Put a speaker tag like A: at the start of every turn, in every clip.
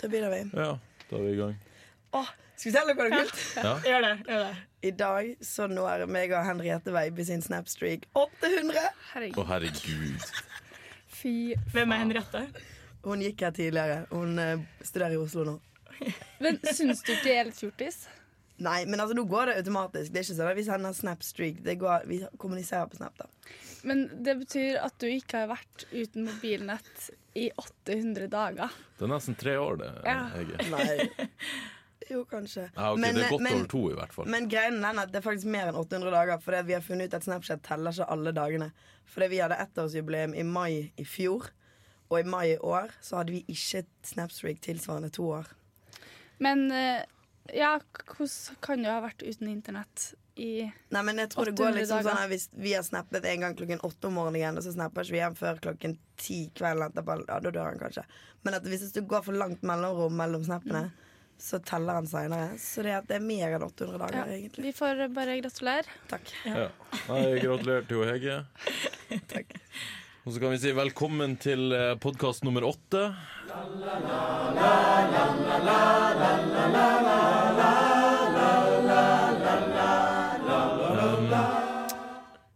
A: Det begynner vi.
B: Ja, da er vi i gang.
A: Åh, skal vi fortelle dere noe kult?
B: Ja.
C: Gjør det. gjør det
A: I dag så når meg og Henriette Weiby sin Snapstreak 800.
B: Å,
D: Herregud.
B: herregud.
D: Fy
C: Hvem er Henriette?
A: Hun gikk her tidligere. Hun eh, studerer i Oslo nå.
D: Men syns du ikke det er litt fjortis?
A: Nei, men altså, nå går det automatisk. Det er ikke sånn at Vi sender Snapstreak. Det går, vi kommuniserer på Snap, da.
D: Men det betyr at du ikke har vært uten mobilnett i 800 dager.
B: Det er nesten tre år, det.
D: Ja.
B: Hege.
A: Nei. Jo, kanskje.
B: Ja, ok, det er godt
A: men,
B: over to, i hvert fall.
A: men greien er den at det er faktisk mer enn 800 dager. Fordi at vi har funnet ut at Snapchat teller ikke alle dagene. Fordi vi hadde ettårsjubileum i mai i fjor. Og i mai i år så hadde vi ikke et Snapstreak tilsvarende to år.
D: Men eh, ja, hvordan kan du ha vært uten internett i
A: Nei, men jeg tror det går
D: 800
A: liksom sånn
D: dager.
A: at Hvis vi har snappet en gang klokken åtte om morgenen, og så snapper ikke vi igjen før klokken ti kvelden etterpå, ja, da dør han kanskje. Men at hvis du går for langt mellomrom mellom snappene, så teller han seinere. Så det, at det er mer enn 800
D: ja,
A: dager, egentlig.
D: Vi får bare gratulere.
A: Takk.
B: Ja. Nei, gratulerer til Hege.
A: Takk.
B: Og så kan vi si velkommen til podkast nummer åtte. Um,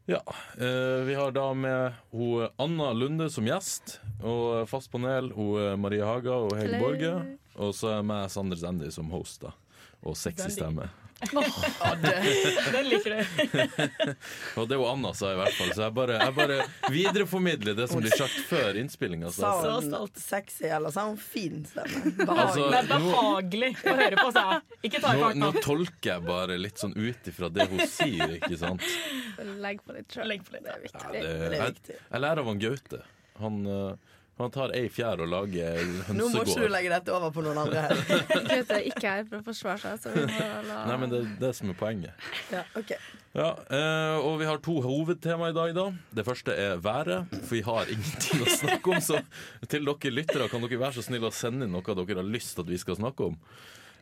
B: Ja. eh, Vi har da med hun Anna Lunde som gjest, og fast panel hun Marie Haga og Hege
D: Hello.
B: Borge. Og så er meg, Sander Zendi, som host, da. Og sexy
C: Zendi.
B: stemme.
C: Den liker du.
B: Og det var Anna sa i hvert fall, så jeg bare, jeg bare videreformidler det som blir sagt før innspillinga.
A: Sa
B: Altså.
A: hun
C: stolt.
A: sexy, eller sa hun fin stemme? Behagelig.
B: Altså,
C: Det er
B: nå,
C: behagelig å høre på, sa jeg. Ikke ta i
B: nå, nå
C: farten.
B: tolker jeg bare litt sånn ut ifra det hun sier, ikke sant?
D: Legg på litt sjøl.
C: Legg på litt.
D: Det er
B: Ja,
D: viktig.
B: det,
A: det er
B: jeg,
A: viktig.
B: jeg lærer av han Gaute. Han, eh, han tar ei fjær og lager
A: Nå må ikke du
B: hønsegård.
A: legge dette over på noen andre her.
D: Gaute er ikke her for å forsvare seg, så vi må la
B: Nei, men det er det som er poenget.
A: Ja, ok.
B: Ja, eh, og vi har to hovedtema i dag, da. Det første er været, for vi har ingenting å snakke om. Så til dere lyttere, kan dere være så snille å sende inn noe dere har lyst til at vi skal snakke om.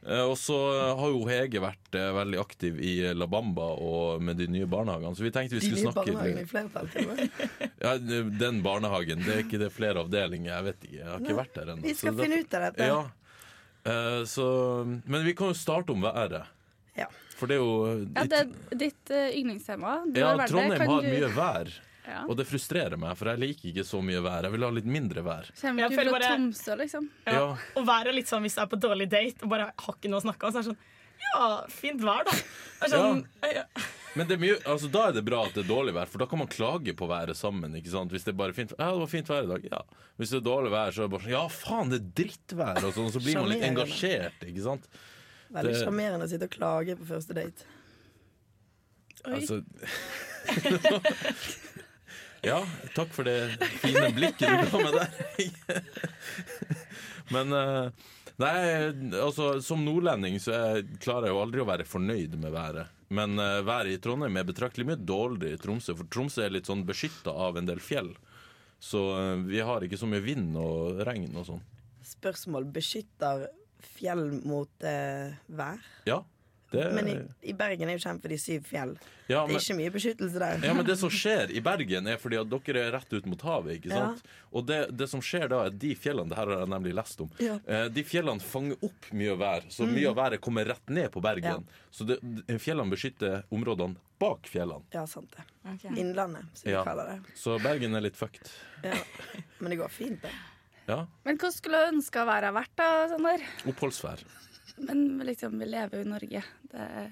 B: Eh, Og så har jo Hege vært eh, veldig aktiv i La Bamba og med de nye barnehagene, så vi tenkte vi
A: De
B: skulle
A: nye
B: snakke
A: barnehagene i flertall. til og med.
B: Ja, den barnehagen. Det er ikke det er flere avdelinger, jeg vet ikke. Jeg har ikke vært der ennå.
A: Vi skal
B: så
A: finne ut av dette.
B: Ja. Eh, Så, men vi kan jo starte om været.
A: Ja.
B: For det er jo
D: Ja, det er ditt eh, yndlingstema. Du
B: Ja,
D: har vært der.
B: Trondheim
D: Kan
B: har
D: du-
B: mye vær.
D: Ja.
B: Og det frustrerer meg, for jeg liker ikke så mye vær. Jeg vil ha litt mindre vær.
D: Kommer
C: Jeg
D: du
C: føler
D: fra
C: bare-
D: Tromsø, liksom?
C: Ja.
B: Ja.
C: Og været litt sånn hvis jeg er på dårlig date og bare har ikke noe å snakke om, så er det sånn Ja, fint vær, da. Det er sånn, ja.
B: Men det er mye, altså, da er det bra at det er dårlig vær, for da kan man klage på været sammen. ikke sant? Hvis det er bare fint, ja, det var fint vær i dag, ja. Hvis det er dårlig vær, så er det bare sånn Ja, faen, det er drittvær! Og sånn, så blir man litt
A: Sjarmerende.
B: engasjert, ikke sant?
A: Veldig
B: Det-
A: sjarmerende å sitte og klage på første date.
D: Oi.
B: Altså Ja, takk for det fine blikket du ga meg der. Men eh, Nei, altså som nordlending så er- klarer jeg jo aldri å være fornøyd med været. Men eh, været i Trondheim er betraktelig mye dårligere i Tromsø, for Tromsø er litt sånn beskytta av en del fjell. Så eh, vi har ikke så mye vind og regn og sånn.
A: Spørsmål beskytter fjell mot eh, vær.
B: Ja, det
A: Men i, i Bergen er jo kjent for de syv fjell.
B: ja,
A: Det er
B: men-
A: ikke mye beskyttelse der.
B: Ja, men Det som skjer i Bergen, er fordi at dere er rett ut mot havet. ikke sant? Og det, det som skjer da, er at de fjellene det her har jeg nemlig lest om,
A: Ja.
B: eh, de fjellene fanger opp mye vær. Så
C: Mm.
B: mye av været kommer rett ned på Bergen. Så det, de- fjellene beskytter områdene bak fjellene.
A: Ja, sant det. Innlandet, som vi
B: Ja.
A: kaller det.
B: Så Bergen er litt fucked.
A: Ja. Men det går fint, det.
B: Ja.
D: Men hvordan skulle du ønske å være vært, da, Sander?
B: Oppholdsvær.
D: Men liksom, vi lever jo i Norge. Det er...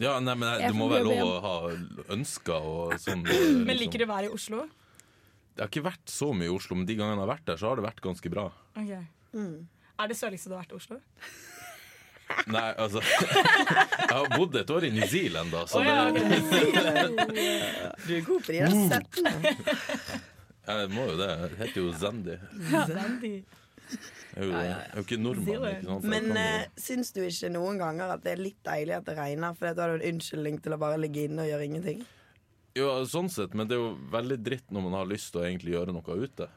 B: Ja, nei, men
D: Jeg
B: Det må
D: får
B: være
D: jobbe
B: lov å ha ønsker og sånn. eh,
C: Men
B: liksom.
C: liker du været i Oslo?
B: Jeg har ikke vært så mye i Oslo, men de gangene jeg har vært der, så har det vært ganske bra.
C: Ok. Er det sørligste du har vært i Oslo?
B: Nei, altså Jeg har bodd et år i New Zealand, da, så
C: Å, ja,
B: det,
C: ok.
A: Du er god på de der settene.
B: jeg må jo det. Jeg heter jo Zendi.
C: Dandy.
B: Jeg er jo, jeg er jo ikke nordmann,
C: Zero.
B: ikke sant? så jeg
A: Men
B: kan jo-
A: eh, syns du ikke noen ganger at det er litt deilig at det regner? For da har du en unnskyldning til å bare ligge inne og gjøre ingenting.
B: jo, sånn sett, men det er jo veldig dritt når man har lyst til å egentlig gjøre noe ute.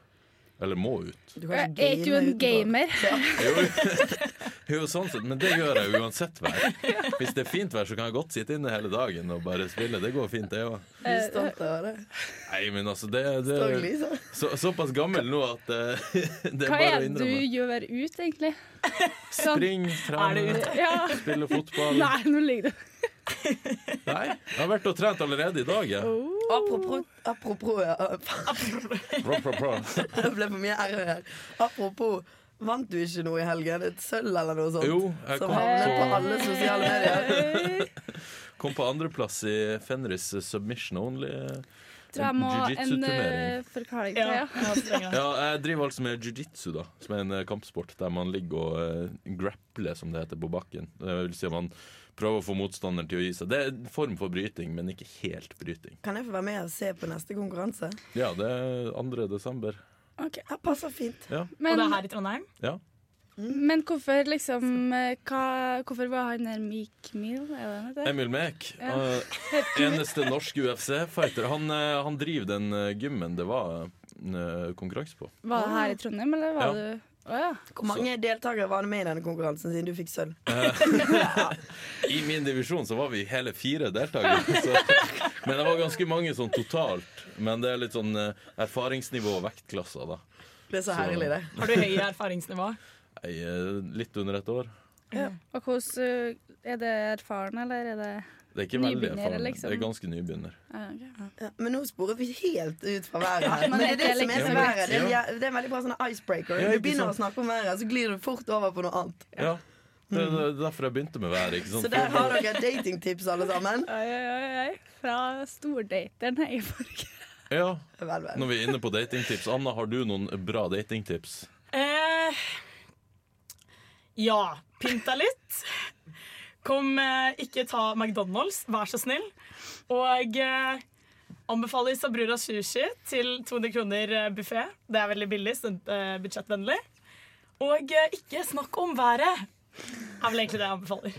B: Eller må ut.
A: Du
D: Eh, Jeg er ikke jo en
A: utenfor.
D: gamer.
B: Jo, jo, sånn sett, men det gjør jeg uansett vær. Hvis det er fint vær, så kan jeg godt sitte inne hele dagen og bare spille. Det går fint, det òg.
D: Eh,
A: Du er stolt over det. liksom.
B: Nei, men altså, det, det
A: Står lyset.
B: så, Såpass gammel nå at eh, det er
D: Hva
B: bare
D: er
B: å
D: det du
B: innrømme.
D: gjør ut, egentlig? Sånn-
B: Spring,
C: Er
B: trene,
C: det
D: Ja.
B: spille fotball.
D: Nei, nå ligger du
B: Nei, jeg har vært og trent allerede i dag, jeg.
A: Apropos, apropos ja, faen,
B: Bra, bra, bra.
A: Det ble for mye r her. Apropos, vant du ikke noe i helgen? Et sølv eller noe sånt?
B: Jo, jeg
A: Som
B: kom
D: Eh,
A: havner på
B: på,
A: alle sosiale medier.
B: kom på andreplass i Fenris submission only.
D: Tror jeg må ha en
B: Jiu-jitsu-turnering.
D: eh, forklaring til
C: Ja,
D: det. Ja.
C: nå trenger jeg.
B: Ja, jeg driver altså med jiu-jitsu, da. Som er en eh, kampsport der man ligger og eh, grappler, som det heter, på bakken. Det vil si at man prøver å få motstanderen til å gi seg. Det er en form for bryting, men ikke helt bryting.
A: Kan jeg få være med og se på neste konkurranse?
B: Ja, det er 2. desember.
D: Ok.
A: Ja, passer fint.
B: Ja.
C: Og
D: Men,
C: det er her i Trondheim?
B: ja.
D: men hvorfor liksom eh, hva, Hvorfor var han der Meek Mill? Er det han heter?
B: Emil Mek, eh, eneste norske UFC-fighter, han, eh, han driver den eh, gymmen det var eh, konkurranse på.
D: Var det her i Trondheim, eller var
B: Ja.
D: du Å ja.
A: Hvor mange deltakere var det med i denne konkurransen siden du fikk sølv?
B: I min divisjon så var vi hele fire deltakere. Så, men det var ganske mange sånn totalt. Men det er litt sånn eh, erfaringsnivå og vektklasser, da.
A: Det er så herlig, det.
C: Har du høyere erfaringsnivå?
B: Nei, eh, litt under et år.
D: Og hvordan eh, Er det erfaren, eller er det
B: Det er ikke veldig
D: Nybegynner,
B: erfaren.
D: liksom?
B: Det er ganske nybegynner.
D: ah, ok.
A: Ja, men nå sporer vi helt ut fra været her.
D: men
A: Men det er
D: det
A: det
D: er
A: som er
D: liksom-
A: så været. Det er,
B: Ja.
A: det er en veldig bra sånn icebreaker.
B: Ja,
A: Du
B: ikke
A: begynner å
B: sant.
A: snakke om været, så glir du fort over på noe annet.
B: Ja. Det er det er derfor jeg begynte med været. Ikke sant?
A: Så der har dere datingtips, alle sammen.
D: Oi, oi, oi, oi. Fra stordateren her i Borg.
B: ja.
A: Vel, vel.
B: Når vi er inne på datingtips, Anna, har du noen bra datingtips?
C: Eh, ja. Pynt deg litt. Kom, eh, ikke ta McDonald's, vær så snill. Og eh, anbefaler Sabrura sushi til 200 kroner buffé. Det er veldig billig, student- eh, budsjettvennlig. Og eh, ikke snakk om været. Er vel egentlig det jeg anbefaler.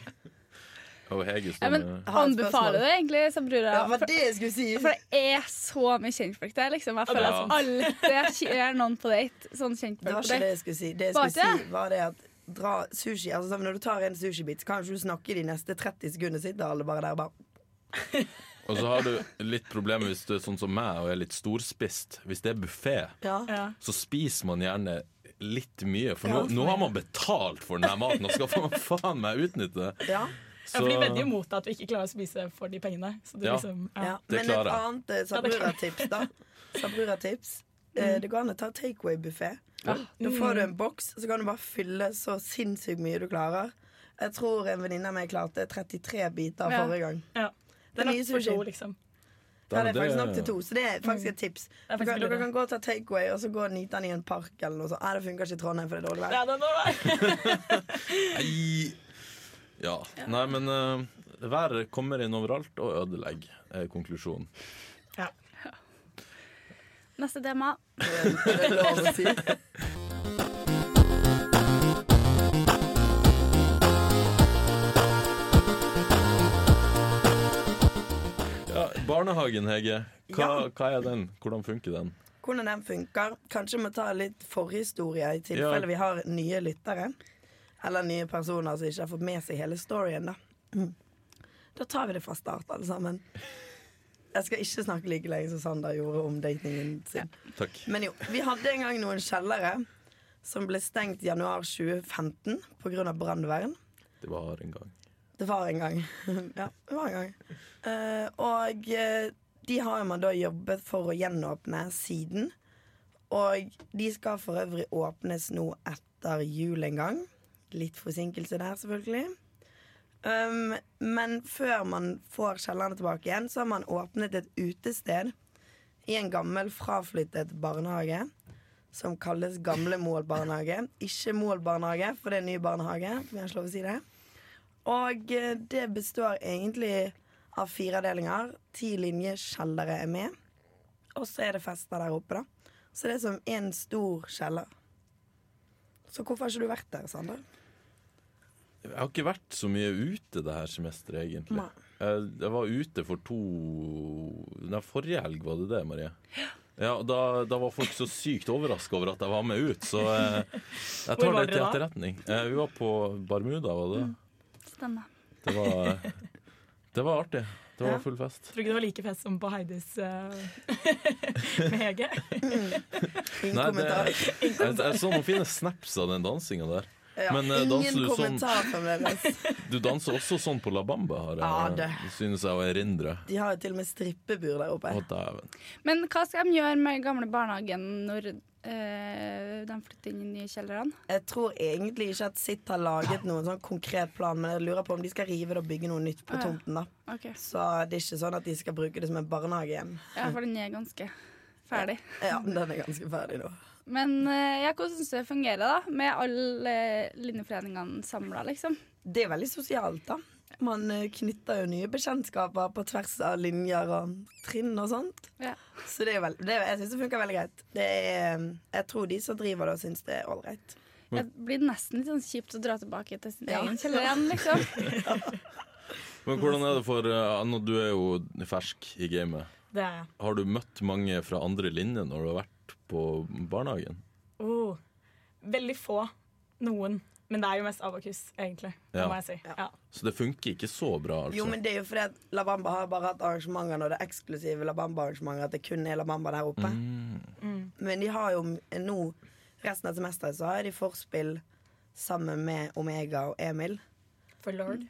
B: Og Hege
D: Ja,
B: som
D: men
B: eh,
A: har et spørsmål.
D: anbefaler du det egentlig, Sabrura?
A: Ja, for det jeg skulle si.
D: For det er så mye kjentfolk der. liksom Jeg føler
B: Ja.
D: at alltid er noen på date. Sånn
A: Det var
D: kjentfolk på
A: ikke det
D: date.
A: jeg skulle si. Det jeg
D: Var
A: skulle
D: ikke?
A: si var det at dra sushi, altså sånn, Når du tar en sushibit, så kan ikke du snakke de neste 30 sekundene. Sitter alle bare der og bare
B: Og så har du litt problemer hvis du er sånn som meg og er litt storspist. Hvis det er buffé,
A: ja.
C: Ja.
B: så spiser man gjerne litt mye. For
A: Ja,
B: nå,
A: for
B: nå har man betalt for denne maten, og skal faen- faen meg utnytte det.
A: Ja,
C: Ja, for de vedder jo mot deg at du ikke klarer å spise for de pengene. Så du
B: Ja.
C: liksom,
A: ja.
C: ja.
B: Det
A: Men et
B: klarer jeg.
A: annet eh, Sabrura-tips, da. Sabrura-tips. Eh, Det går an å ta takeaway-buffé. Da får du en boks, så kan du bare fylle så sinnssykt mye du klarer. Jeg tror en venninne av meg klarte 33 biter
D: Ja.
A: forrige gang.
C: Ja.
A: Det
C: Det
A: er
C: er
A: mye
C: nok for
A: sushi.
C: to, liksom.
A: Ja, det er
B: Det-
A: faktisk nok til to, så det er faktisk et tips.
C: er faktisk
A: Dere, dere
C: billigere.
A: kan gå og ta takeaway og så gå og nyte den i en park eller noe sånt. Nei, det funker ikke i Trondheim, for det er dårlig vær.
C: Ja, det er noe der.
B: Nei. Ja. Nei, men eh, været kommer inn overalt og ødelegger, er konklusjonen.
C: Ja.
D: Neste tema.
A: Det er lov å si.
B: Ja, barnehagen, Hege. Hva,
A: Ja.
B: hva er den? Hvordan funker den?
A: Hvordan den funker. Kanskje vi tar litt forhistorie i tilfelle
B: Ja.
A: vi har nye lyttere. Eller nye personer som ikke har fått med seg hele storyen, da. Mm. Da tar vi det fra start, alle sammen. Jeg skal ikke snakke like lenge som Sander gjorde om datingen sin.
B: Takk.
A: Men jo, vi hadde en gang noen kjellere som ble stengt januar 2015 pga. brannvern.
B: Det var en gang.
A: Det var en gang. ja, det var en gang. Eh, og eh, de har jo man da jobbet for å gjenåpne siden. Og de skal for øvrig åpnes nå etter jul en gang. Litt forsinkelse der, selvfølgelig. Um, men før man får kjellerne tilbake igjen, så har man åpnet et utested i en gammel, fraflyttet barnehage. Som kalles Gamle Mål barnehage. Ikke Mål barnehage, for det er en ny barnehage. Om jeg har lov å si det. Og eh, det består egentlig av fire avdelinger. Ti linjer kjellere er med. Og så er det fester der oppe, da. Så det er som én stor kjeller. Så hvorfor har ikke du vært der, Sander?
B: Jeg har ikke vært så mye ute det her semesteret, egentlig.
A: Nei.
B: Eh, Jeg, jeg var ute for to Nei, forrige helg var det det, Marie. Ja, og da, da var folk så sykt overraska over at jeg var med ut, så eh, jeg
C: Hvor
B: tar det
C: var
B: til
C: dere da?
B: etterretning. Eh, vi var på Barmuda, var det?
D: Stemmer.
B: Det var, det var artig. Det
A: Ja.
B: var full fest.
C: Tror ikke det var like fest som på Heidis eh, med Hege.
A: Ingen
B: Nei, det,
A: kommentar.
B: jeg, jeg så noen fine snaps av den dansinga der.
A: Ja,
B: men, eh, danser
A: ingen
B: du sånn-
A: kommentar fremdeles.
B: Du danser også sånn på La Bamba, har
A: Ja,
B: jeg,
A: det.
B: synes jeg å erindre.
A: De har jo til og med strippebur der oppe.
B: Å, dæven.
D: Men hva skal de gjøre med gamle barnehagen når eh, de flytter inn i nye kjellerne?
A: Jeg tror egentlig ikke at Sitt har laget noen sånn konkret plan, men jeg lurer på om de skal rive det og bygge noe nytt på
D: Ah, ja.
A: tomten. da
D: Ok,
A: Så det er ikke sånn at de skal bruke det som en barnehage igjen.
D: ja, For den er ganske ferdig.
A: Ja, den er ganske ferdig nå.
D: Men eh, ja, hvordan syns du det fungerer, da? Med alle eh, linjeforeningene samla, liksom?
A: Det er veldig sosialt, da. Man eh, knytter jo nye bekjentskaper på tvers av linjer og trinn og sånt.
D: Ja.
A: Så det er vel, det er, jeg syns det funker veldig greit. Det er, eh, jeg tror de som driver det, syns det er ålreit.
D: Det blir nesten litt sånn kjipt å dra tilbake til sin
A: Ja.
D: egen kjeller igjen, liksom.
B: Men hvordan er det for eh, Anna, du er jo fersk i gamet.
C: Det er jeg.
B: Har du møtt mange fra andre linjer når du har vært på barnehagen?
C: Oh. Veldig få. Noen. Men det er jo mest Abakus, egentlig. Det
B: Ja.
C: må jeg si.
A: Ja.
C: Ja.
B: Så det funker ikke så bra, altså.
A: Jo, men det er jo fordi at La Bamba har bare hatt arrangementer når det er eksklusive La Bamba-arrangementer, at det kun er La Bamba der oppe. Men de har jo nå, resten av semesteret, så har de forspill sammen med Omega og Emil.
C: For lord.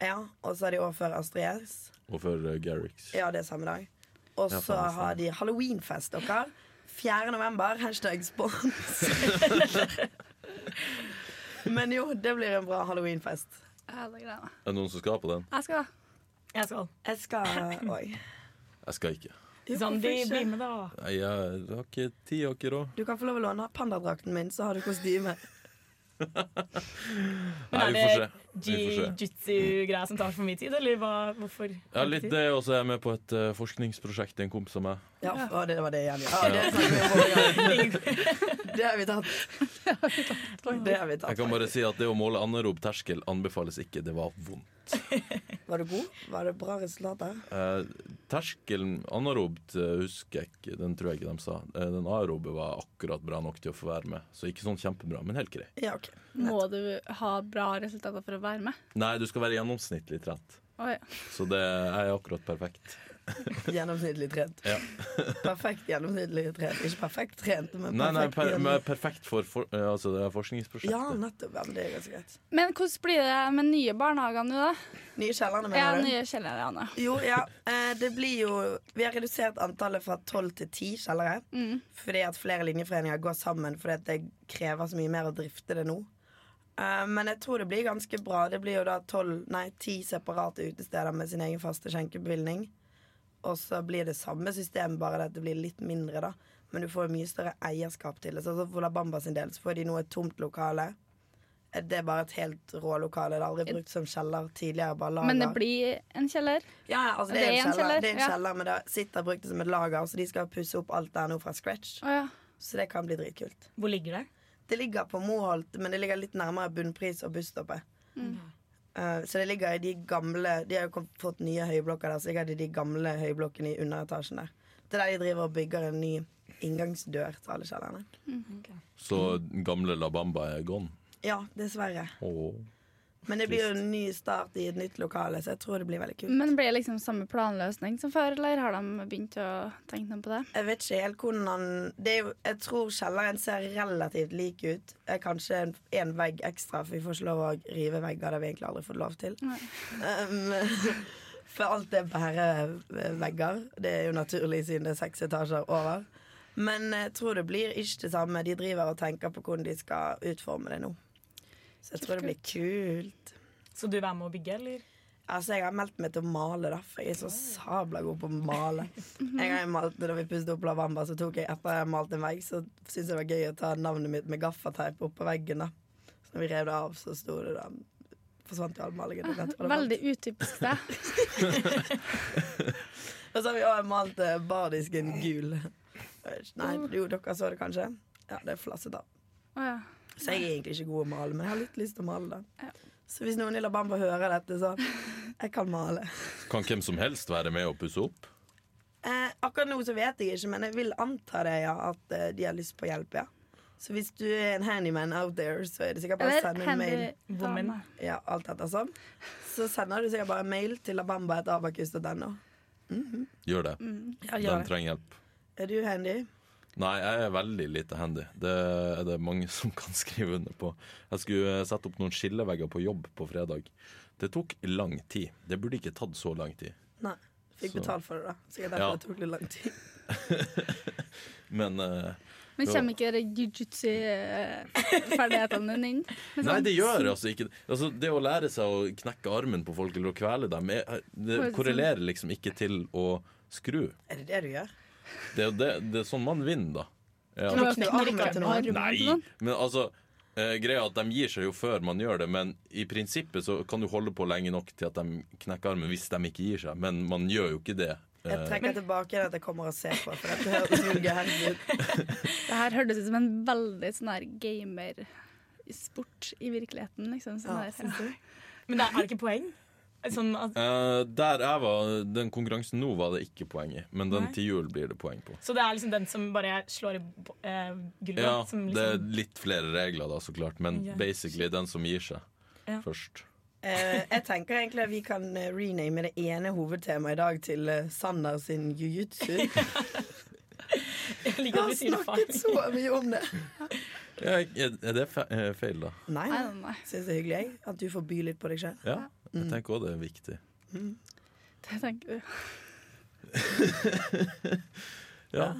A: Ja, Og så har de året før Astrid S.
B: Og for eh, Garrix.
A: Ja, det er samme dag. Og
B: Ja,
A: så
B: faen, det
A: har de halloweenfest, dere. 4. november. Hashtag spons. Men jo, det blir en bra halloweenfest.
D: Ja, det gleder jeg meg.
B: Er det noen som skal på den?
D: Jeg skal da.
C: Jeg skal.
A: Jeg skal òg.
B: Jeg skal ikke.
C: Sånn, de blir med, da.
B: Nei, Jeg har ikke tid, jeg har ikke råd.
A: Du kan få lov å låne pandadrakten min, så har du kostyme.
C: Men
B: Nei,
C: er
B: vi får se.
C: det
B: Vi får se.
C: jiu-jitsu-greia som tar for mye tid, eller hva, hvorfor?
B: Ja, litt det, og så er jeg med på et eh, forskningsprosjekt en kompis av meg.
A: Ja, og det var det igjen. Ja, det, snakket vi om forrige gang. det har vi tatt. Det har vi
B: Jeg
A: tatt.
B: kan bare si at det å måle anaerob terskel anbefales ikke. Det var vondt.
A: Var du god? Var det bra resultater?
B: Eh, terskelen anaerobt eh, husker jeg ikke, den tror jeg ikke de sa. Eh, den aerobe var akkurat bra nok til å få være med, så ikke sånn kjempebra, men helt grei.
A: Ja, OK.
D: Må du ha bra resultater for å være med?
B: Nei, du skal være gjennomsnittlig trent,
D: Å, ja.
B: så det jeg er akkurat perfekt.
A: Gjennomsnittlig trent.
B: Ja.
A: Perfekt gjennomsnittlig trent. Ikke perfekt trent, men
B: Nei, nei,
A: perfekt.
B: per,
A: gjennom-
B: men perfekt for, for eh, altså det er
A: Ja,
B: forskningsprosjektet.
A: nettopp. Ja, men det er ganske greit.
D: Men hvordan blir det med nye barnehager nå, da?
A: Nye kjellerne,
D: Ja,
A: mener du?
D: nye kjellere, Anne.
A: Jo, ja. Eh, Det blir jo Vi har redusert antallet fra tolv til ti kjellere.
D: Mm.
A: Fordi at flere linjeforeninger går sammen fordi at det krever så mye mer å drifte det nå. Eh, Men jeg tror det blir ganske bra. Det blir jo da 12, nei, ti separate utesteder med sin egen faste skjenkebevilgning. Og så blir det samme system, bare det at det blir litt mindre, da. Men du får jo mye større eierskap til det. Så for La Bamba sin del så får de nå et tomt lokale. Eh, Det er bare et helt rålokale. Det er aldri brukt som kjeller tidligere. Bare lager.
D: Men det blir en kjeller.
A: Ja, ja, altså det, er en kjeller, det er en
D: ja.
A: kjeller men det sitter brukt det som et lager, så de skal pusse opp alt der nå fra scratch.
D: Å, ja.
A: Så det kan bli dritkult.
C: Hvor ligger det?
A: Det ligger på Moholt, men det ligger litt nærmere bunnpris og busstoppet. Eh, så det ligger i de gamle De har jo kom- fått nye høyblokker der, så ligger det i de gamle høyblokkene i underetasjen der. Det er der de driver og bygger en ny inngangsdør til alle kjellerne.
B: Så gamle La Bamba er gone.
A: Ja, dessverre.
B: Åh.
A: Men det blir jo en ny start i et nytt lokale, så jeg tror det blir veldig kult.
D: Men blir det liksom samme planløsning som før, eller har de begynt å tenke noe på det?
A: Jeg vet ikke helt hvordan han det er jo, Jeg tror kjelleren ser relativt lik ut. Det er kanskje en, en vegg ekstra, for vi får ikke lov å rive vegger. Det har vi egentlig aldri fått lov til. Um, for alt er bare eh, vegger. Det er jo naturlig siden det er seks etasjer over. Men jeg tror det blir ikke det samme. De driver og tenker på hvordan de skal utforme det nå. Så jeg tror det blir kult.
C: Skal du være med å bygge, eller?
A: Altså, jeg har meldt meg til å male, da, for jeg er så sabla god på å male. En gang jeg malte da vi pusset opp Lavamba, så tok jeg etter jeg malte en vegg, så syntes jeg det var gøy å ta navnet mitt med gaffateip oppå veggen. da. Så når vi rev det av, så sto det da Forsvant jo all malingen. Jeg vet hva det var.
D: Veldig utypisk deg.
A: Og så har vi òg malt eh, bardisken gul. Nei, jo, dere så det kanskje? Ja, det er flasset av.
D: Å, ja.
A: Så jeg er egentlig ikke god å male, men jeg har litt lyst til å male, da.
D: Ja.
A: Så hvis noen i Labamba hører dette, så Jeg kan male.
B: Kan hvem som helst være med og pusse opp?
A: Eh, Akkurat nå så vet jeg ikke, men jeg vil anta det, ja, at eh, de har lyst på hjelp, ja. Så hvis du er en handyman out there, så er det sikkert bare å sende en mail.
C: Woman.
A: Ja, alt etter sånn. Så sender du sikkert bare en mail til abamba.abakus.no.
B: Gjør det.
A: Mm. Ja,
B: Den trenger hjelp.
A: Er du handy?
B: Nei, jeg er veldig lite handy. Det er det mange som kan skrive under på. Jeg skulle eh, sette opp noen skillevegger på jobb på fredag. Det tok lang tid. Det burde ikke tatt så lang tid.
A: Nei. Fikk
B: Så-
A: betalt for det, da. Sikkert
B: Ja.
A: derfor det tok litt lang tid.
B: Men eh,
D: Men kommer ikke de jujutsu-ferdighetene dine inn?
B: Nei,
D: Med sånn
B: det gjør altså ikke det. altså, Det å lære seg å knekke armen på folk eller å kvele dem, er, det
D: Bare sånn-
B: korrelerer liksom ikke til å skru.
A: Er det det du gjør?
B: Det er jo det, det er sånn man vinner, da. Ja.
D: Nå
A: knekker
D: knekker
A: armen
D: ikke
A: til noen.
D: armen til
B: Nei,
C: sånn.
D: noen.
B: men altså eh, Greia er at de gir seg jo før man gjør det, men i prinsippet så kan du holde på lenge nok til at de knekker armen hvis de ikke gir seg. Men man gjør jo ikke det. eh,
A: Jeg trekker tilbake det at jeg kommer og ser på, for dette høres noe gærent ut.
D: Det her hørtes ut som en veldig sånn her gamersport i virkeligheten, liksom. Sånn
A: Ja,
D: her. Ja.
C: Men det er, er det ikke poeng? Sånn at,
B: eh, der jeg var, den konkurransen nå var det ikke poeng i, men den
C: Nei.
B: til jul blir det poeng på.
C: så det er liksom den som bare slår i bo- eh, gulvet?
B: Ja,
C: som
B: det er
C: liksom,
B: litt flere regler da, så klart, men
C: Ja.
B: basically den som gir seg
C: Ja.
B: først.
A: Eh, jeg tenker egentlig at vi kan eh, rename det ene hovedtemaet i dag til eh, Sander sin jiu-jitsu. Jeg
C: jeg liksom liker at
A: har
C: vi sier
A: snakket
C: faen.
A: så mye om det.
B: Ja, er er det fe eh, feil, da?
A: Nei,
D: Nei, nei, nei.
A: syns det er hyggelig, jeg. At du får by litt på deg sjøl.
B: Ja, jeg
D: Mm.
B: tenker òg det er viktig.
D: Det tenker du.
B: Ja.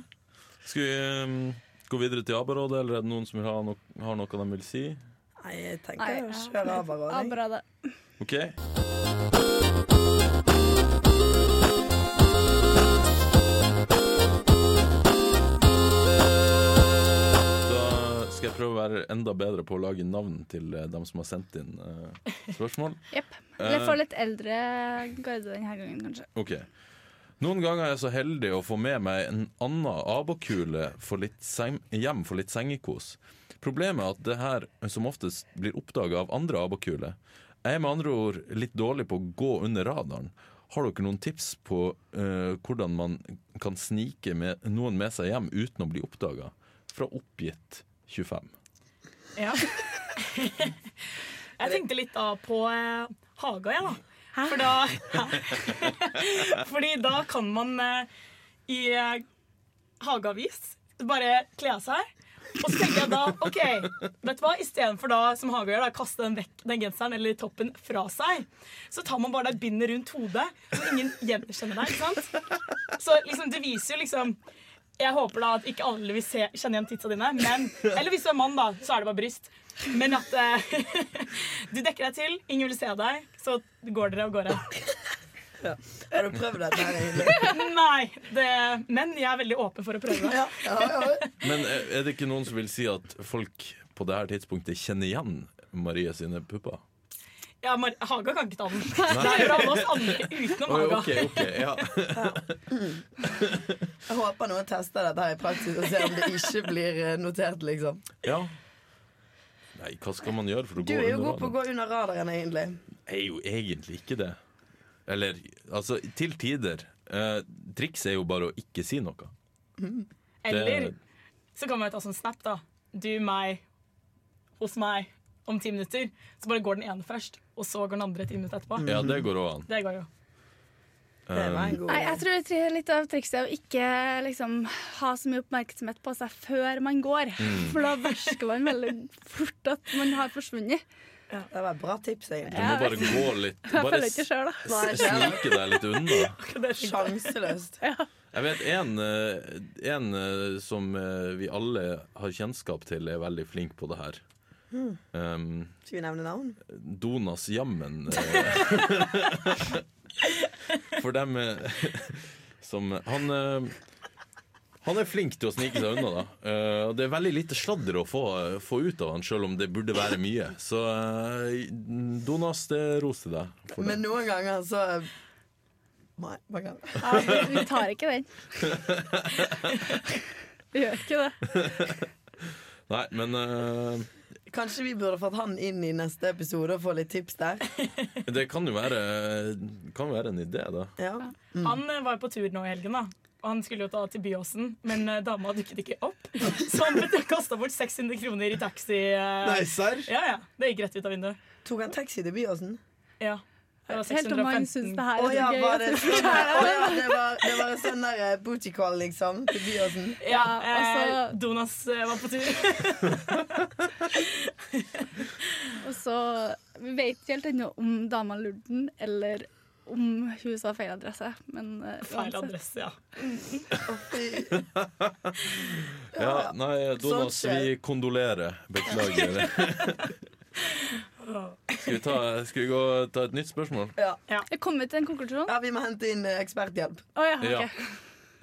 B: Skal vi eh, gå videre til Abarådet, eller er det noen som vil ha no har noe de vil si?
A: Nei, jeg
D: Nei,
A: tenker å
D: ja.
A: kjøre Abaråd.
D: Ja,
A: jeg.
D: bra det.
B: OK? Da skal jeg prøve å være enda bedre på å lage navn til eh, dem som har sendt inn eh, spørsmål. Eh,
D: Jepp. Eller få litt eldre garde denne gangen, kanskje.
B: Ok. Noen ganger er jeg så heldig å få med meg en annen abokule for litt seng- hjem for litt sengekos. Problemet er at det her som oftest blir oppdaga av andre abokuler. Jeg er med andre ord litt dårlig på å gå under radaren. Har dere noen tips på eh, hvordan man kan snike med, noen med seg hjem uten å bli oppdaga? Fra oppgitt 25.
C: Ja. Jeg tenkte litt da på eh, Haga, jeg, da. For da Fordi da kan man eh, i eh, Hageavis bare kle av seg. Og så tenker jeg da OK, vet du hva, istedenfor da som Haga gjør, da, kaste den, vekk, den genseren eller toppen fra seg, så tar man bare det bindet rundt hodet, så ingen gjenkjenner deg. ikke sant? Så liksom, det viser jo liksom jeg håper da at ikke alle vil se, kjenne igjen titsa dine. Men, eller hvis du er mann, da, så er det bare bryst. Men at eh, du dekker deg til, ingen vil se deg, så går dere av gårde.
A: Har du prøvd dette her egentlig?
C: Nei, det, men jeg er veldig åpen for å prøve det.
A: Ja, ja, ja.
B: Men eh, er det ikke noen som vil si at folk på det her tidspunktet kjenner igjen Marie sine pupper?
C: Ja, Mar Haga kan ikke ta den. Det gjør alle oss andre utenom
B: Oi,
C: Haga.
B: ok, ok, ja
A: Jeg håper noen tester dette her i praksis og ser om det ikke blir eh, notert, liksom.
B: Ja. Nei, hva skal man gjøre for å
A: Du
B: gå
A: er jo
B: under
A: god på å
B: radaren?
A: gå under radaren, egentlig.
B: Jeg er jo egentlig ikke det. Eller, altså, til tider. Eh, Trikset er jo bare å ikke si noe.
C: Eller så kan man jo ta sånn snap, da. Du, meg, hos meg om ti minutter. Så bare går den ene først, og så går den andre ti minutter etterpå.
B: Ja, det går òg an.
C: Det går jo.
A: Det var
B: Um,
A: en god
D: Nei, jeg tror det er litt av trikset er å ikke liksom, ha så mye oppmerksomhet på seg før man går.
B: Mm.
D: For da varsler man veldig fort at man har forsvunnet.
A: Det var et bra tips,
B: Du
A: egentlig.
B: må
D: Ja,
B: bare gå litt
D: Jeg
B: Bare
D: føler
B: s-
D: ikke sjøl, da.
A: Nei,
B: s-
A: ikke
B: snike deg litt unna.
C: Det tenkte jeg.
A: Sjanseløst.
B: Jeg vet en, eh, en eh, som eh, vi alle har kjennskap til, er veldig flink på det her.
A: Mm.
B: Um,
A: Skal vi nevne navn?
B: Donas jammen. eh. For dem eh, som Han eh, han er flink til å snike seg unna, da. Eh, Og det er veldig lite sladder å få, eh, få ut av han, sjøl om det burde være mye. Så eh, Donas, det er ros til deg. For det.
A: Men noen ganger så eh, Nei, hva kan
D: Ja, vi- vi tar ikke den. Vi gjør ikke det.
B: Nei, men eh,
A: Kanskje vi burde fått han inn i neste episode og få litt tips der.
B: det kan jo være, kan jo være en idé, da.
A: Ja.
D: Mm.
C: Han eh, var jo på tur nå i helgen, da. og han skulle jo ta til Byåsen, men eh, dama dukket ikke opp. Så han kasta bort 600 kroner i taxi. eh,
E: Nei, serr?
C: Ja, ja. Det gikk rett ut av vinduet.
A: Tok han taxi til Byåsen?
C: Ja. Det var
D: Helt om han syns
C: 615.
D: det her
A: Å
D: er
A: ja,
D: gøy.
A: var
D: at
A: det, sånn?
D: du-
A: Å ja, det, var, det var en sånn der eh, booty call, liksom, til Byåsen?
C: Ja,
D: Ja, altså-
C: eh, Donas eh, var på tur.
D: Og så vi vet ikke helt ennå om dama lurte den, eller om hun sa feil adresse. Men eh,
C: Feil
D: uansett.
C: adresse, ja.
A: Å, fy.
B: Ja, nei, Donas,
A: skjer.
B: vi kondolerer. Beklager. Skal vi, ta, skal vi gå og ta et nytt spørsmål?
A: Ja.
D: Jeg kom til en konklusjon.
A: ja, vi må hente inn eh, eksperthjelp.
D: Å ja, ok.
B: Ja.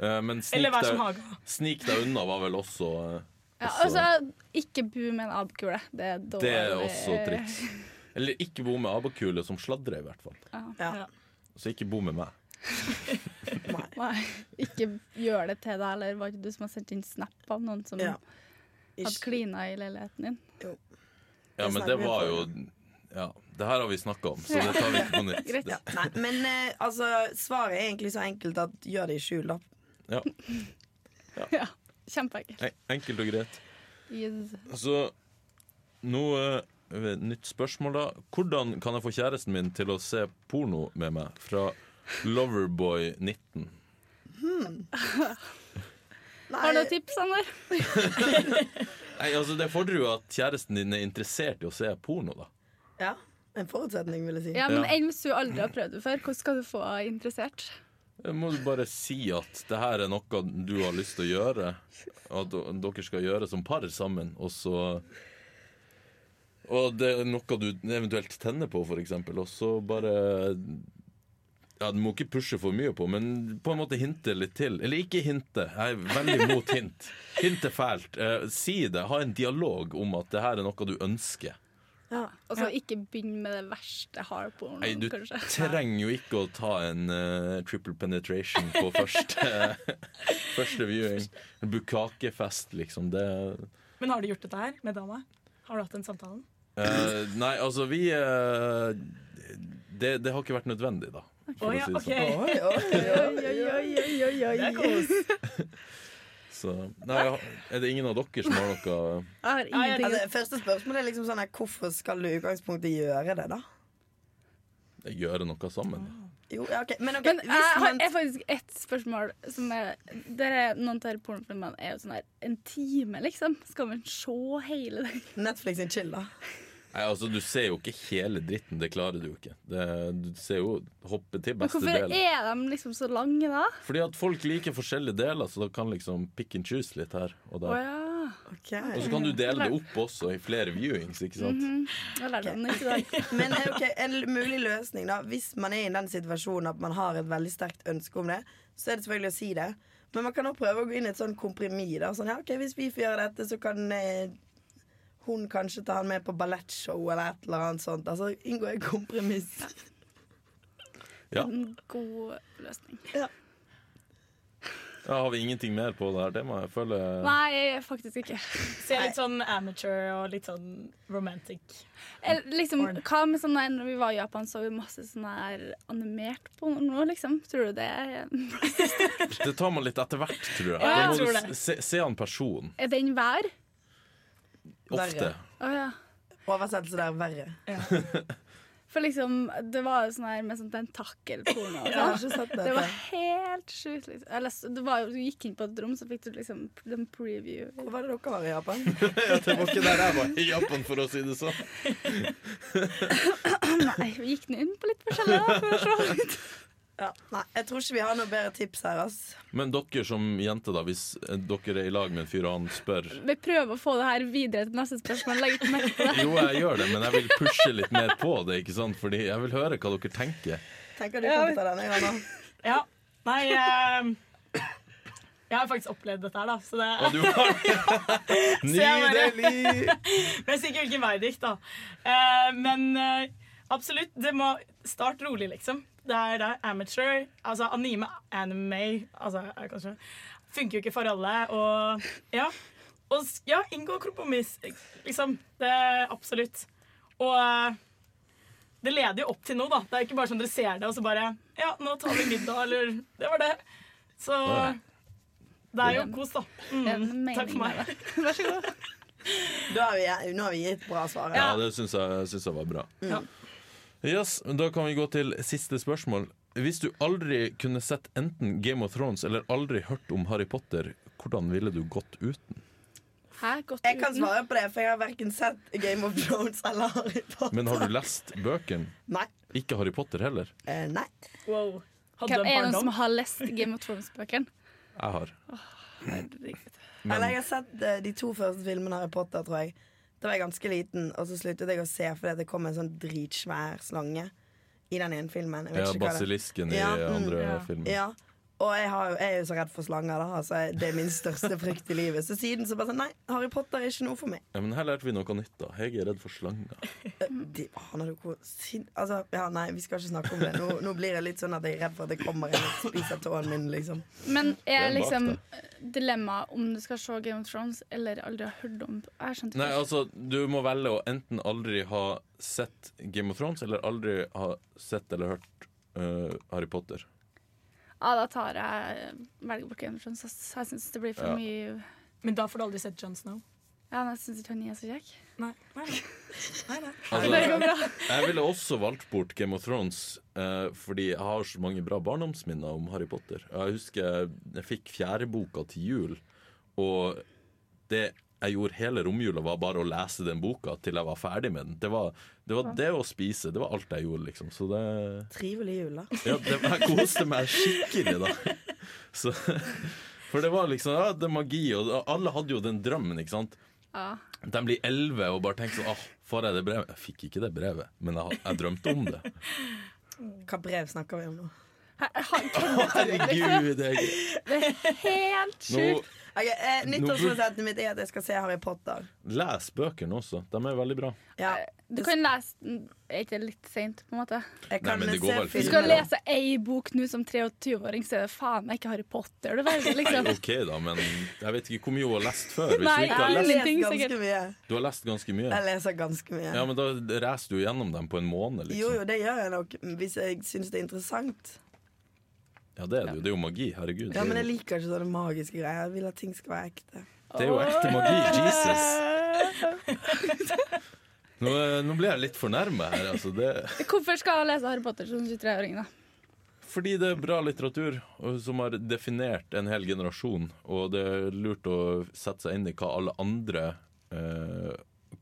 B: Eh, Men snik
C: Ah, Eller Vær som
B: deg,
C: Haga.
B: snik deg unna var vel også eh,
D: Ja,
B: også-
D: altså, eh, ikke bu med en abkule. Det er dårlig.
B: Det er også et triks. Eller ikke bo med abakule som sladrer, i hvert fall.
A: Ja.
B: Så ikke bo med meg.
A: Nei.
D: Nei, ikke gjør det til deg, eller var det ikke du som har sendt inn snap av noen som
A: Ja.
D: hadde
A: Ikke.
D: klina i leiligheten din?
B: Ja,
A: Det
B: men
A: snakker
B: det
A: vi
B: var
A: om.
B: jo Ja, det her har vi snakka om, så det tar vi ikke på nytt.
D: Greit.
B: Det-
A: Nei, men eh, altså, svaret er egentlig så enkelt at gjør det i skjul, da.
B: Ja,
D: Ja, kjempeenkelt.
B: en- Enkelt og greit.
D: Yes.
B: Så nå Altså, eh, Nytt spørsmål, da. Hvordan kan jeg få kjæresten min til å se porno med meg? Fra Loverboy19.
D: Har du
A: Nei,
D: noen tips, Sander?
B: Nei, altså Det fordrer jo at kjæresten din er interessert i å se porno, da.
A: ja. En forutsetning, vil jeg si.
D: Ja, men
B: Ja.
D: enn hvis du aldri har prøvd det før, hvordan skal du få henne interessert?
B: Da Må du bare si at det her er noe du har lyst til å gjøre, og at d- dere skal gjøre som par sammen, og så Og det er noe du eventuelt tenner på, for eksempel, og så bare ja, Du må ikke pushe for mye på, men på en måte hinte litt til. Eller ikke hinte. Jeg er veldig mot hint. Hint er fælt. Eh, si det. Ha en dialog om at det her er noe du ønsker.
D: Og så Altså, ikke begynn med det verste hardporn,
B: Nei, du
D: kanskje.
B: trenger jo ikke å ta en eh, triple penetration på første, første viewing. En bukakefest, liksom. Det
C: Men har du gjort dette her med dama? Har du hatt den samtalen?
B: eh, Nei, altså, vi eh, det, det har ikke vært nødvendig, da.
C: Å
B: For
C: ja,
B: å si det sånn.
C: OK.
A: Oi, oi, oi.
D: Oi, oi, oi, oi, oi, oi.
C: Det er kos.
B: Så, nei, ja, er det ingen av dere som har noe
D: Jeg har ingenting
A: Altså, første spørsmål er liksom sånn her, hvorfor skal du i utgangspunktet gjøre det, da?
B: Gjøre noe sammen? Da?
A: Jo, ja, ok, Men, ok,
D: Men
A: hvis
D: jeg har
A: man-
D: jeg har faktisk ett spørsmål. Som er, der er noen av de pornofilmene er jo sånn her en time, liksom. Skal man se hele den?
A: Netflix sin chill, da.
B: Nei, altså, Du ser jo ikke hele dritten. Det klarer du jo ikke. Det, du ser jo hoppe til
D: Men
B: beste
D: hvorfor
B: del.
D: er de liksom så lange da?
B: Fordi at folk liker forskjellige deler, så da kan liksom pick and choose litt her og
D: Å
B: der.
D: ja.
A: Ok.
B: Og så kan du dele det opp også i flere viewings, ikke sant?
C: Mhm.
D: Jeg lærte den ikke i dag.
A: Men eh, ok, en l- mulig løsning, da. Hvis man er i den situasjonen at man har et veldig sterkt ønske om det, så er det selvfølgelig å si det. Men man kan også prøve å gå inn i et sånn kompromiss. da. Sånn, ja, ok, Hvis vi får gjøre dette, så kan eh, hun kanskje ta han med på ballettshow eller et eller annet sånt. Altså inngå et kompromiss.
B: Ja.
D: En god løsning.
B: Da har vi ingenting mer på det her. Det må jeg føle
D: Nei, faktisk ikke.
C: Ser litt sånn amateur og litt sånn romantic.
D: Eller liksom, hva med sånn der, når vi var i Japan, så vi masse sånn her animert porno, liksom? Tror du det er
B: Det tar man litt etter hvert, tror jeg.
C: Ja,
B: Da
C: jeg
B: må
C: tror
B: du
C: det.
B: se, se han personen.
D: Er den vær?
B: Ofte.
D: Å ja.
A: Oversettelse der verre.
D: For liksom, det var jo sånn her med sånn tentakelporno. og
A: Jeg har
D: sånn.
A: ikke sett
D: Det var
A: dette.
D: helt sjukt. Liksom. Eller, så- det var jo, du gikk inn på et rom, så fikk du liksom en preview.
A: Hvor var det dere var i Japan?
B: Ja, det var ikke der jeg var i Japan, for å si det sånn.
D: Nei, vi gikk den inn på litt forskjellig, da, for å se.
A: Ja. Nei, jeg tror ikke vi har noe bedre tips her, ass.
B: Men dere som jenter, da, hvis dere er i lag med en fyr og han spør
D: Vi prøver å få det her videre til neste spørsmål. Legg ikke merke til det.
B: Jo, jeg gjør det, men jeg vil pushe litt mer på det, ikke sant? Fordi jeg vil høre hva dere tenker.
A: Tenker du kan ta denne, Johanna?
C: Ja. Nei eh, Jeg har faktisk opplevd dette her, da. Så det,
B: Og du har Nydelig!
C: men jeg sier ikke hvilken vei det gikk, da. Eh, men eh, absolutt, det må Start rolig, liksom. Det er, det er amateur. Altså anime, anime altså, eh, kanskje. Funker jo ikke for alle. Og ja, og, s- ja inngå kompromiss, liksom. Det er absolutt. Og eh, det leder jo opp til noe, da. Det er ikke bare sånn dere ser det, og så bare Ja, nå tar vi middag, eller Det var det. Så
B: Åh.
C: det er jo kos, da.
D: Det er en
C: Mm,
D: mening
C: takk for meg.
D: med det. Vær så god.
A: Da har vi, nå har vi gitt bra svar. her.
B: Ja, det syns jeg, syns jeg var bra.
C: Ja.
B: Yes, Da kan vi gå til siste spørsmål. Hvis du aldri kunne sett enten Game of Thrones eller aldri hørt om Harry Potter, hvordan ville du gått uten?
D: Hæ, godt
A: Jeg kan
D: uten.
A: svare på det, for jeg har verken sett Game of Thrones eller Harry Potter.
B: Men har du lest bøkene?
A: Nei.
B: Ikke Harry Potter heller.
A: Eh, nei.
C: Wow. Hadde
D: Hvem
C: en
D: er det noen som
C: barndom.
D: har lest Game of Thrones-bøkene?
B: Jeg har.
A: Eller jeg har sett eh, de to første filmene Harry Potter, tror jeg. Da var jeg ganske liten, og så sluttet jeg å se fordi det kom en sånn dritsvær slange i den ene filmen. Jeg vet
B: Ja,
A: ikke hva det-
B: Basilisken i
A: Ja, mm,
B: andre
C: ja.
B: filmer.
A: Ja. Og jeg, har, jo- jeg er jo så redd for slanger, da. Altså, det er min største frykt i livet. Så siden så bare sånn Nei, Harry Potter er ikke noe for meg.
B: Ja, men her lærte vi noe nytt, da. Hege er redd for slanger.
A: Eh, De, han hadde jo hvor sin- Altså, ja, nei, vi skal ikke snakke om det. Nå, nå blir jeg litt sånn at jeg er redd for at det kommer en og spiser tåen min, liksom.
D: Men
B: Det er
D: er
B: bak
D: liksom dilemmaet om du skal se Game of Thrones eller aldri har hørt om Jeg skjønte
B: Nei,
D: ikke.
B: altså, du må velge å enten aldri ha sett Game of Thrones, eller aldri ha sett eller hørt eh, Harry Potter.
D: Ja, da tar jeg eh, velger bort Game of Thrones. ass. Jeg syns det blir for
B: Ja.
D: mye
C: Men da får du aldri sett John Snow.
D: Ja, men jeg syns ikke han er så kjekk.
C: Nei, nei, nei. nei, nei.
D: Det
B: Altså,
D: går bra.
B: jeg ville også valgt bort Game of Thrones, eh, fordi jeg har så mange bra barndomsminner om Harry Potter. Jeg husker jeg fikk fjerdeboka til jul, og det jeg gjorde hele romjula, var bare å lese den boka til jeg var ferdig med den. Det var det, var det å spise. Det var alt jeg gjorde, liksom. Så det
A: Trivelig jul, da.
B: Ja, det, jeg koste meg skikkelig da. Så, for det var liksom ja, det er magi, og alle hadde jo den drømmen, ikke sant.
D: Ja.
B: De blir elleve og bare tenker sånn Åh, får jeg det brevet? Jeg fikk ikke det brevet, men jeg, jeg drømte om det.
A: Hva brev snakker vi om nå?
B: Herregud, jeg,
D: Helt
B: nå
D: sjukt.
A: Ok, eh,
B: Nå-
A: Nyttårsforsettet mitt er at jeg skal se Harry Potter.
B: Les bøkene også. De er veldig bra.
A: Ja,
D: Du kan lese den Er ikke det litt seint, på en måte?
A: jeg kan
B: men det går
A: se
B: vel
D: Du
B: fint.
A: filmer.
D: skal lese ei bok nå som 23-åring, så er det faen meg ikke Harry Potter du velger, liksom.
B: OK, da, men jeg vet ikke hvor mye hun har lest før. Hvis
D: Nei,
B: du, ikke har
A: Jeg
B: lest,
D: nei.
A: leser
D: Ingenting,
A: ganske
D: sikkert.
A: mye.
B: du har lest ganske mye.
A: Jeg leser ganske mye.
B: Ja, men da racer du gjennom dem på en
A: Jo,
B: måned, liksom.
A: jo, det gjør jeg nok hvis jeg syns det er interessant.
B: Ja, det er det jo. Det er jo magi. Herregud.
A: Ja, Men jeg
B: det, er jo,
A: liker ikke sånne magiske greier. Jeg vil at ting skal være ekte.
B: det er jo ekte magi. Jesus. Nå, eh, nå ble jeg litt fornærma her. Altså det,
D: Hvorfor skal jeg lese Harry Potter som 23-åring, da?
B: fordi det er bra litteratur og som har definert en hel generasjon. Og det er lurt å sette seg inn i hva alle andre eh,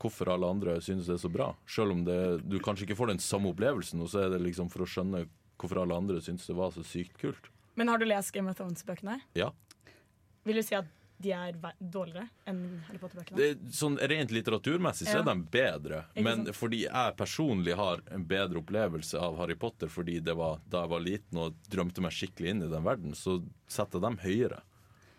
B: Hvorfor alle andre synes det er så bra. Selv om det, du kanskje ikke får den samme opplevelsen, og så er det liksom for å skjønne hvorfor alle andre synes det var så sykt kult.
C: Men har du lest Game of Thrones-bøkene?
B: Ja.
C: Vil du si at de er ver- dårligere enn Harry Potter-bøkene?
B: Det, er sånn Rent litteraturmessig så
C: Ja.
B: er de bedre,
C: Ikke
B: men
C: sant?
B: fordi jeg personlig har en bedre opplevelse av Harry Potter fordi det var da jeg var liten og drømte meg skikkelig inn i den verden, så setter jeg dem høyere.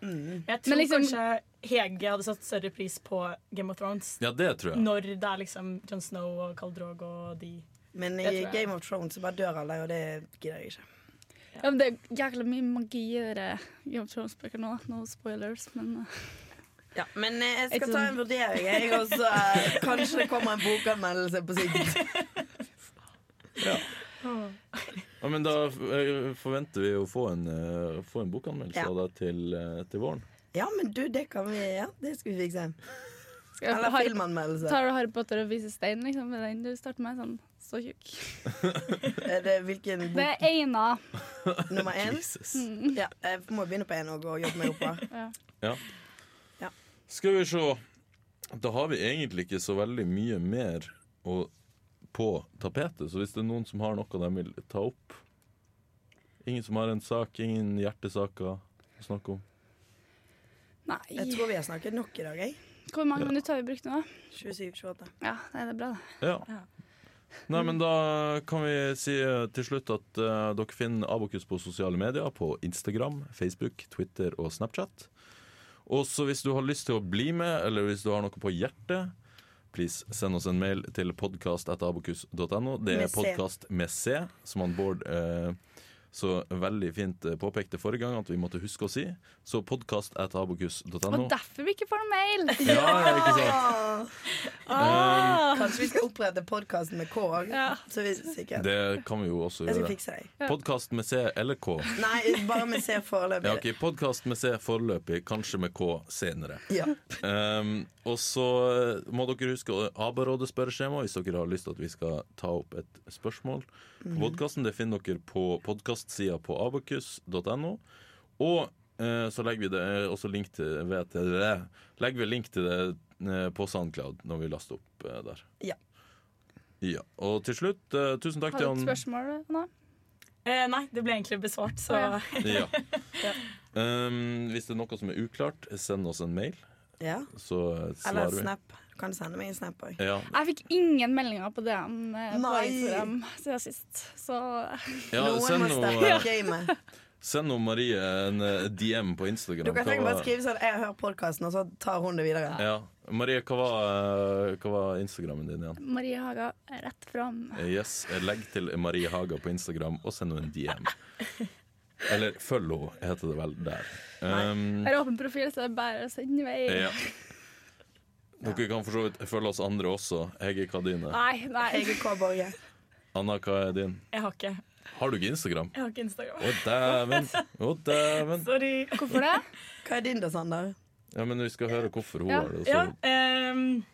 C: Jeg tror
D: liksom-
C: kanskje Hege hadde satt større pris på Game of Thrones
B: Ja, det tror jeg.
C: når det er liksom John Snow og Khal Drogo og de
A: Men
C: Det
A: i
C: tror jeg.
A: Game of Thrones så bare dør alle, og det gidder jeg ikke.
D: Ja, men det er jækla mye magi i dere Game of Thrones-bøker nå. da. No spoilers, men eh,
A: Ja, men eh, jeg
D: Ikke
A: skal ta
D: sånn-
A: en vurdering, jeg også. eh, Kanskje det kommer en bokanmeldelse på sikt.
B: Ja. Ja, men da eh, forventer vi å få en, eh, få en bokanmeldelse
A: Ja.
B: av deg til, eh, til våren.
A: Ja, men du, det kan vi Ja, det skal vi fikse.
D: skal jeg
A: Eller altså.
D: Harry,
A: filmanmeldelse.
D: tar du Harry Potter og viser stein, liksom? Med den du starter med? Sånn, så tjukk.
A: Er det hvilken
D: Det
A: bok
D: er Eina.
A: nummer én?
B: Jesus.
A: Ja, jeg må begynne på én og gå og jobbe meg oppover.
D: Ja.
B: Ja.
A: Ja.
B: Skal vi se. Da har vi egentlig ikke så veldig mye mer å, på tapetet, så hvis det er noen som har noe de vil ta opp Ingen som har en sak, ingen hjertesaker å snakke om.
A: Jeg
D: Nei.
A: tror vi har snakket nok i dag, jeg.
D: Hvor mange minutter har vi brukt nå?
A: 27-28.
D: Ja, nei, det er bra, det.
B: Ja.
C: Ja.
B: Nei, men da kan vi si eh, til slutt at eh, dere finner Abokus på sosiale medier, på Instagram, Facebook, Twitter og Snapchat. Og så hvis du har lyst til å bli med, eller hvis du har noe på hjertet, please send oss en mail til podcast.abokus.no. Det
A: Med
B: er
A: C.
B: podcast med C, som han Bård eh, så veldig fint eh, påpekte forrige gang at vi måtte huske å si. Så podkast at
D: Og
B: abokus.no.
D: derfor vi ikke får noe mail!
B: Ja, ikke sant? Eh,
D: Ah.
A: Kanskje vi skal opprette podkasten med K òg?
D: Ja.
A: Så vi er sikre.
B: Det kan vi jo også
A: Jeg skal
B: gjøre.
A: fikse deg.
B: Podkast med C eller K.
A: Nei, bare vi ser foreløpig.
B: Ja, ok, Podkast med C foreløpig, kanskje med K senere.
A: Ja.
B: Um, og så eh, må dere huske å- Abarådet spørreskjema hvis dere har lyst til at vi skal ta opp et spørsmål.
D: Mhm.
B: På podcasten, Det finner dere på podkastsida på abakus.no. Og eh, så legger vi det eh, også link til, vet jeg det, legger vi link til det eh, på SoundCloud når vi laster opp eh, der.
A: Ja.
B: Ja, Og til slutt, eh, tusen takk
D: Har du
B: til
D: et
B: han
D: spørsmål, Anna?
C: Eh, nei, det ble egentlig besvart, så
D: Å,
B: ja. um, Hvis det er noe som er uklart, send oss en mail,
A: ja.
B: så eh,
A: Eller
B: svarer vi.
A: Snap. Du kan sende meg en Snap òg.
B: Ja,
D: Jeg fikk ingen meldinger på DM eh, på
A: Nei.
D: Instagram siden sist. Så eh,
B: ja,
A: Noen
B: send
A: må
B: noe eh,
A: steppe opp gamet.
B: Send nå Marie en eh, DM på Instagram.
A: Du kan tenke
B: Hva
A: bare
B: var-
A: skrive sånn 'Jeg hører podkasten', og så tar hun det videre.
B: Ja. Marie, hva var, eh, hva var Instagrammen din igjen?
D: Marie Haga, rett fram.
B: Eh, Yes, eh, Legg til Marie Haga på Instagram og send henne en DM. Eller følg henne, heter det vel der. Um,
D: Jeg har åpen profil, så det er bare å sende i vei.
B: ja. Dere kan for så vidt følge oss andre også. Jeg er hva din
A: Ah.
B: er.
D: Nei, nei.
A: Jeg er K. Borge.
B: Anna, hva er din?
C: jeg har ikke,
B: Har du ikke Instagram?
C: jeg har ikke Instagram.
B: Å, dæven! Å, dæven!
C: Sorry.
D: Hvorfor det?
A: Hva er din da, Sander?
B: Ja, men vi skal høre hvorfor hun
D: Ja.
B: har det.
C: Ja,
B: Så.
C: ehm,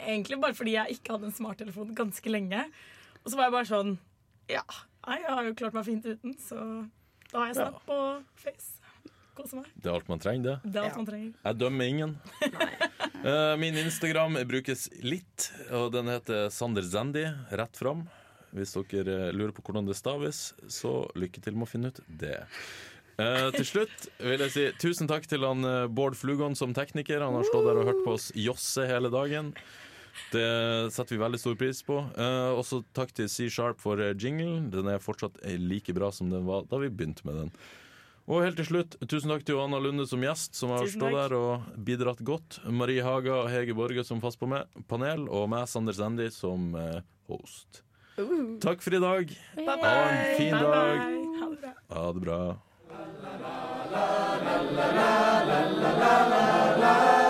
C: egentlig bare fordi jeg ikke hadde en smarttelefon ganske lenge. Og så var jeg bare sånn Ja, nei, jeg har jo klart meg fint uten, så da har jeg Snap og Face. Kose meg.
B: Det er alt man trenger, det.
C: Det er
A: Ja.
C: alt man trenger.
B: Jeg dømmer ingen. Eh, min Instagram brukes litt, og den heter Sander Zandy, rett fram. Hvis dere eh, lurer på hvordan det staves, så lykke til med å finne ut det. Eh, til slutt vil jeg si tusen takk til han eh, Bård Flugon som tekniker. Han har stått der og hørt på oss josse hele dagen. Det setter vi veldig stor pris på. Eh, også takk til C Sharp for eh, jinglen. Den er fortsatt eh, like bra som den var da vi begynte med den. Og helt til slutt, tusen takk til Johanna Lunde som gjest, som har
C: Tusen
B: stått
C: takk.
B: der og bidratt godt. Marie Haga og Hege Borge som fast på meg, panel, og meg, Sander Sandy, som eh, host. Takk for i dag.
A: Bye
B: Ha
A: bye.
B: en fin
C: Uh. Bye
B: dag.
C: bye. Ha det bra.
B: Ha det bra.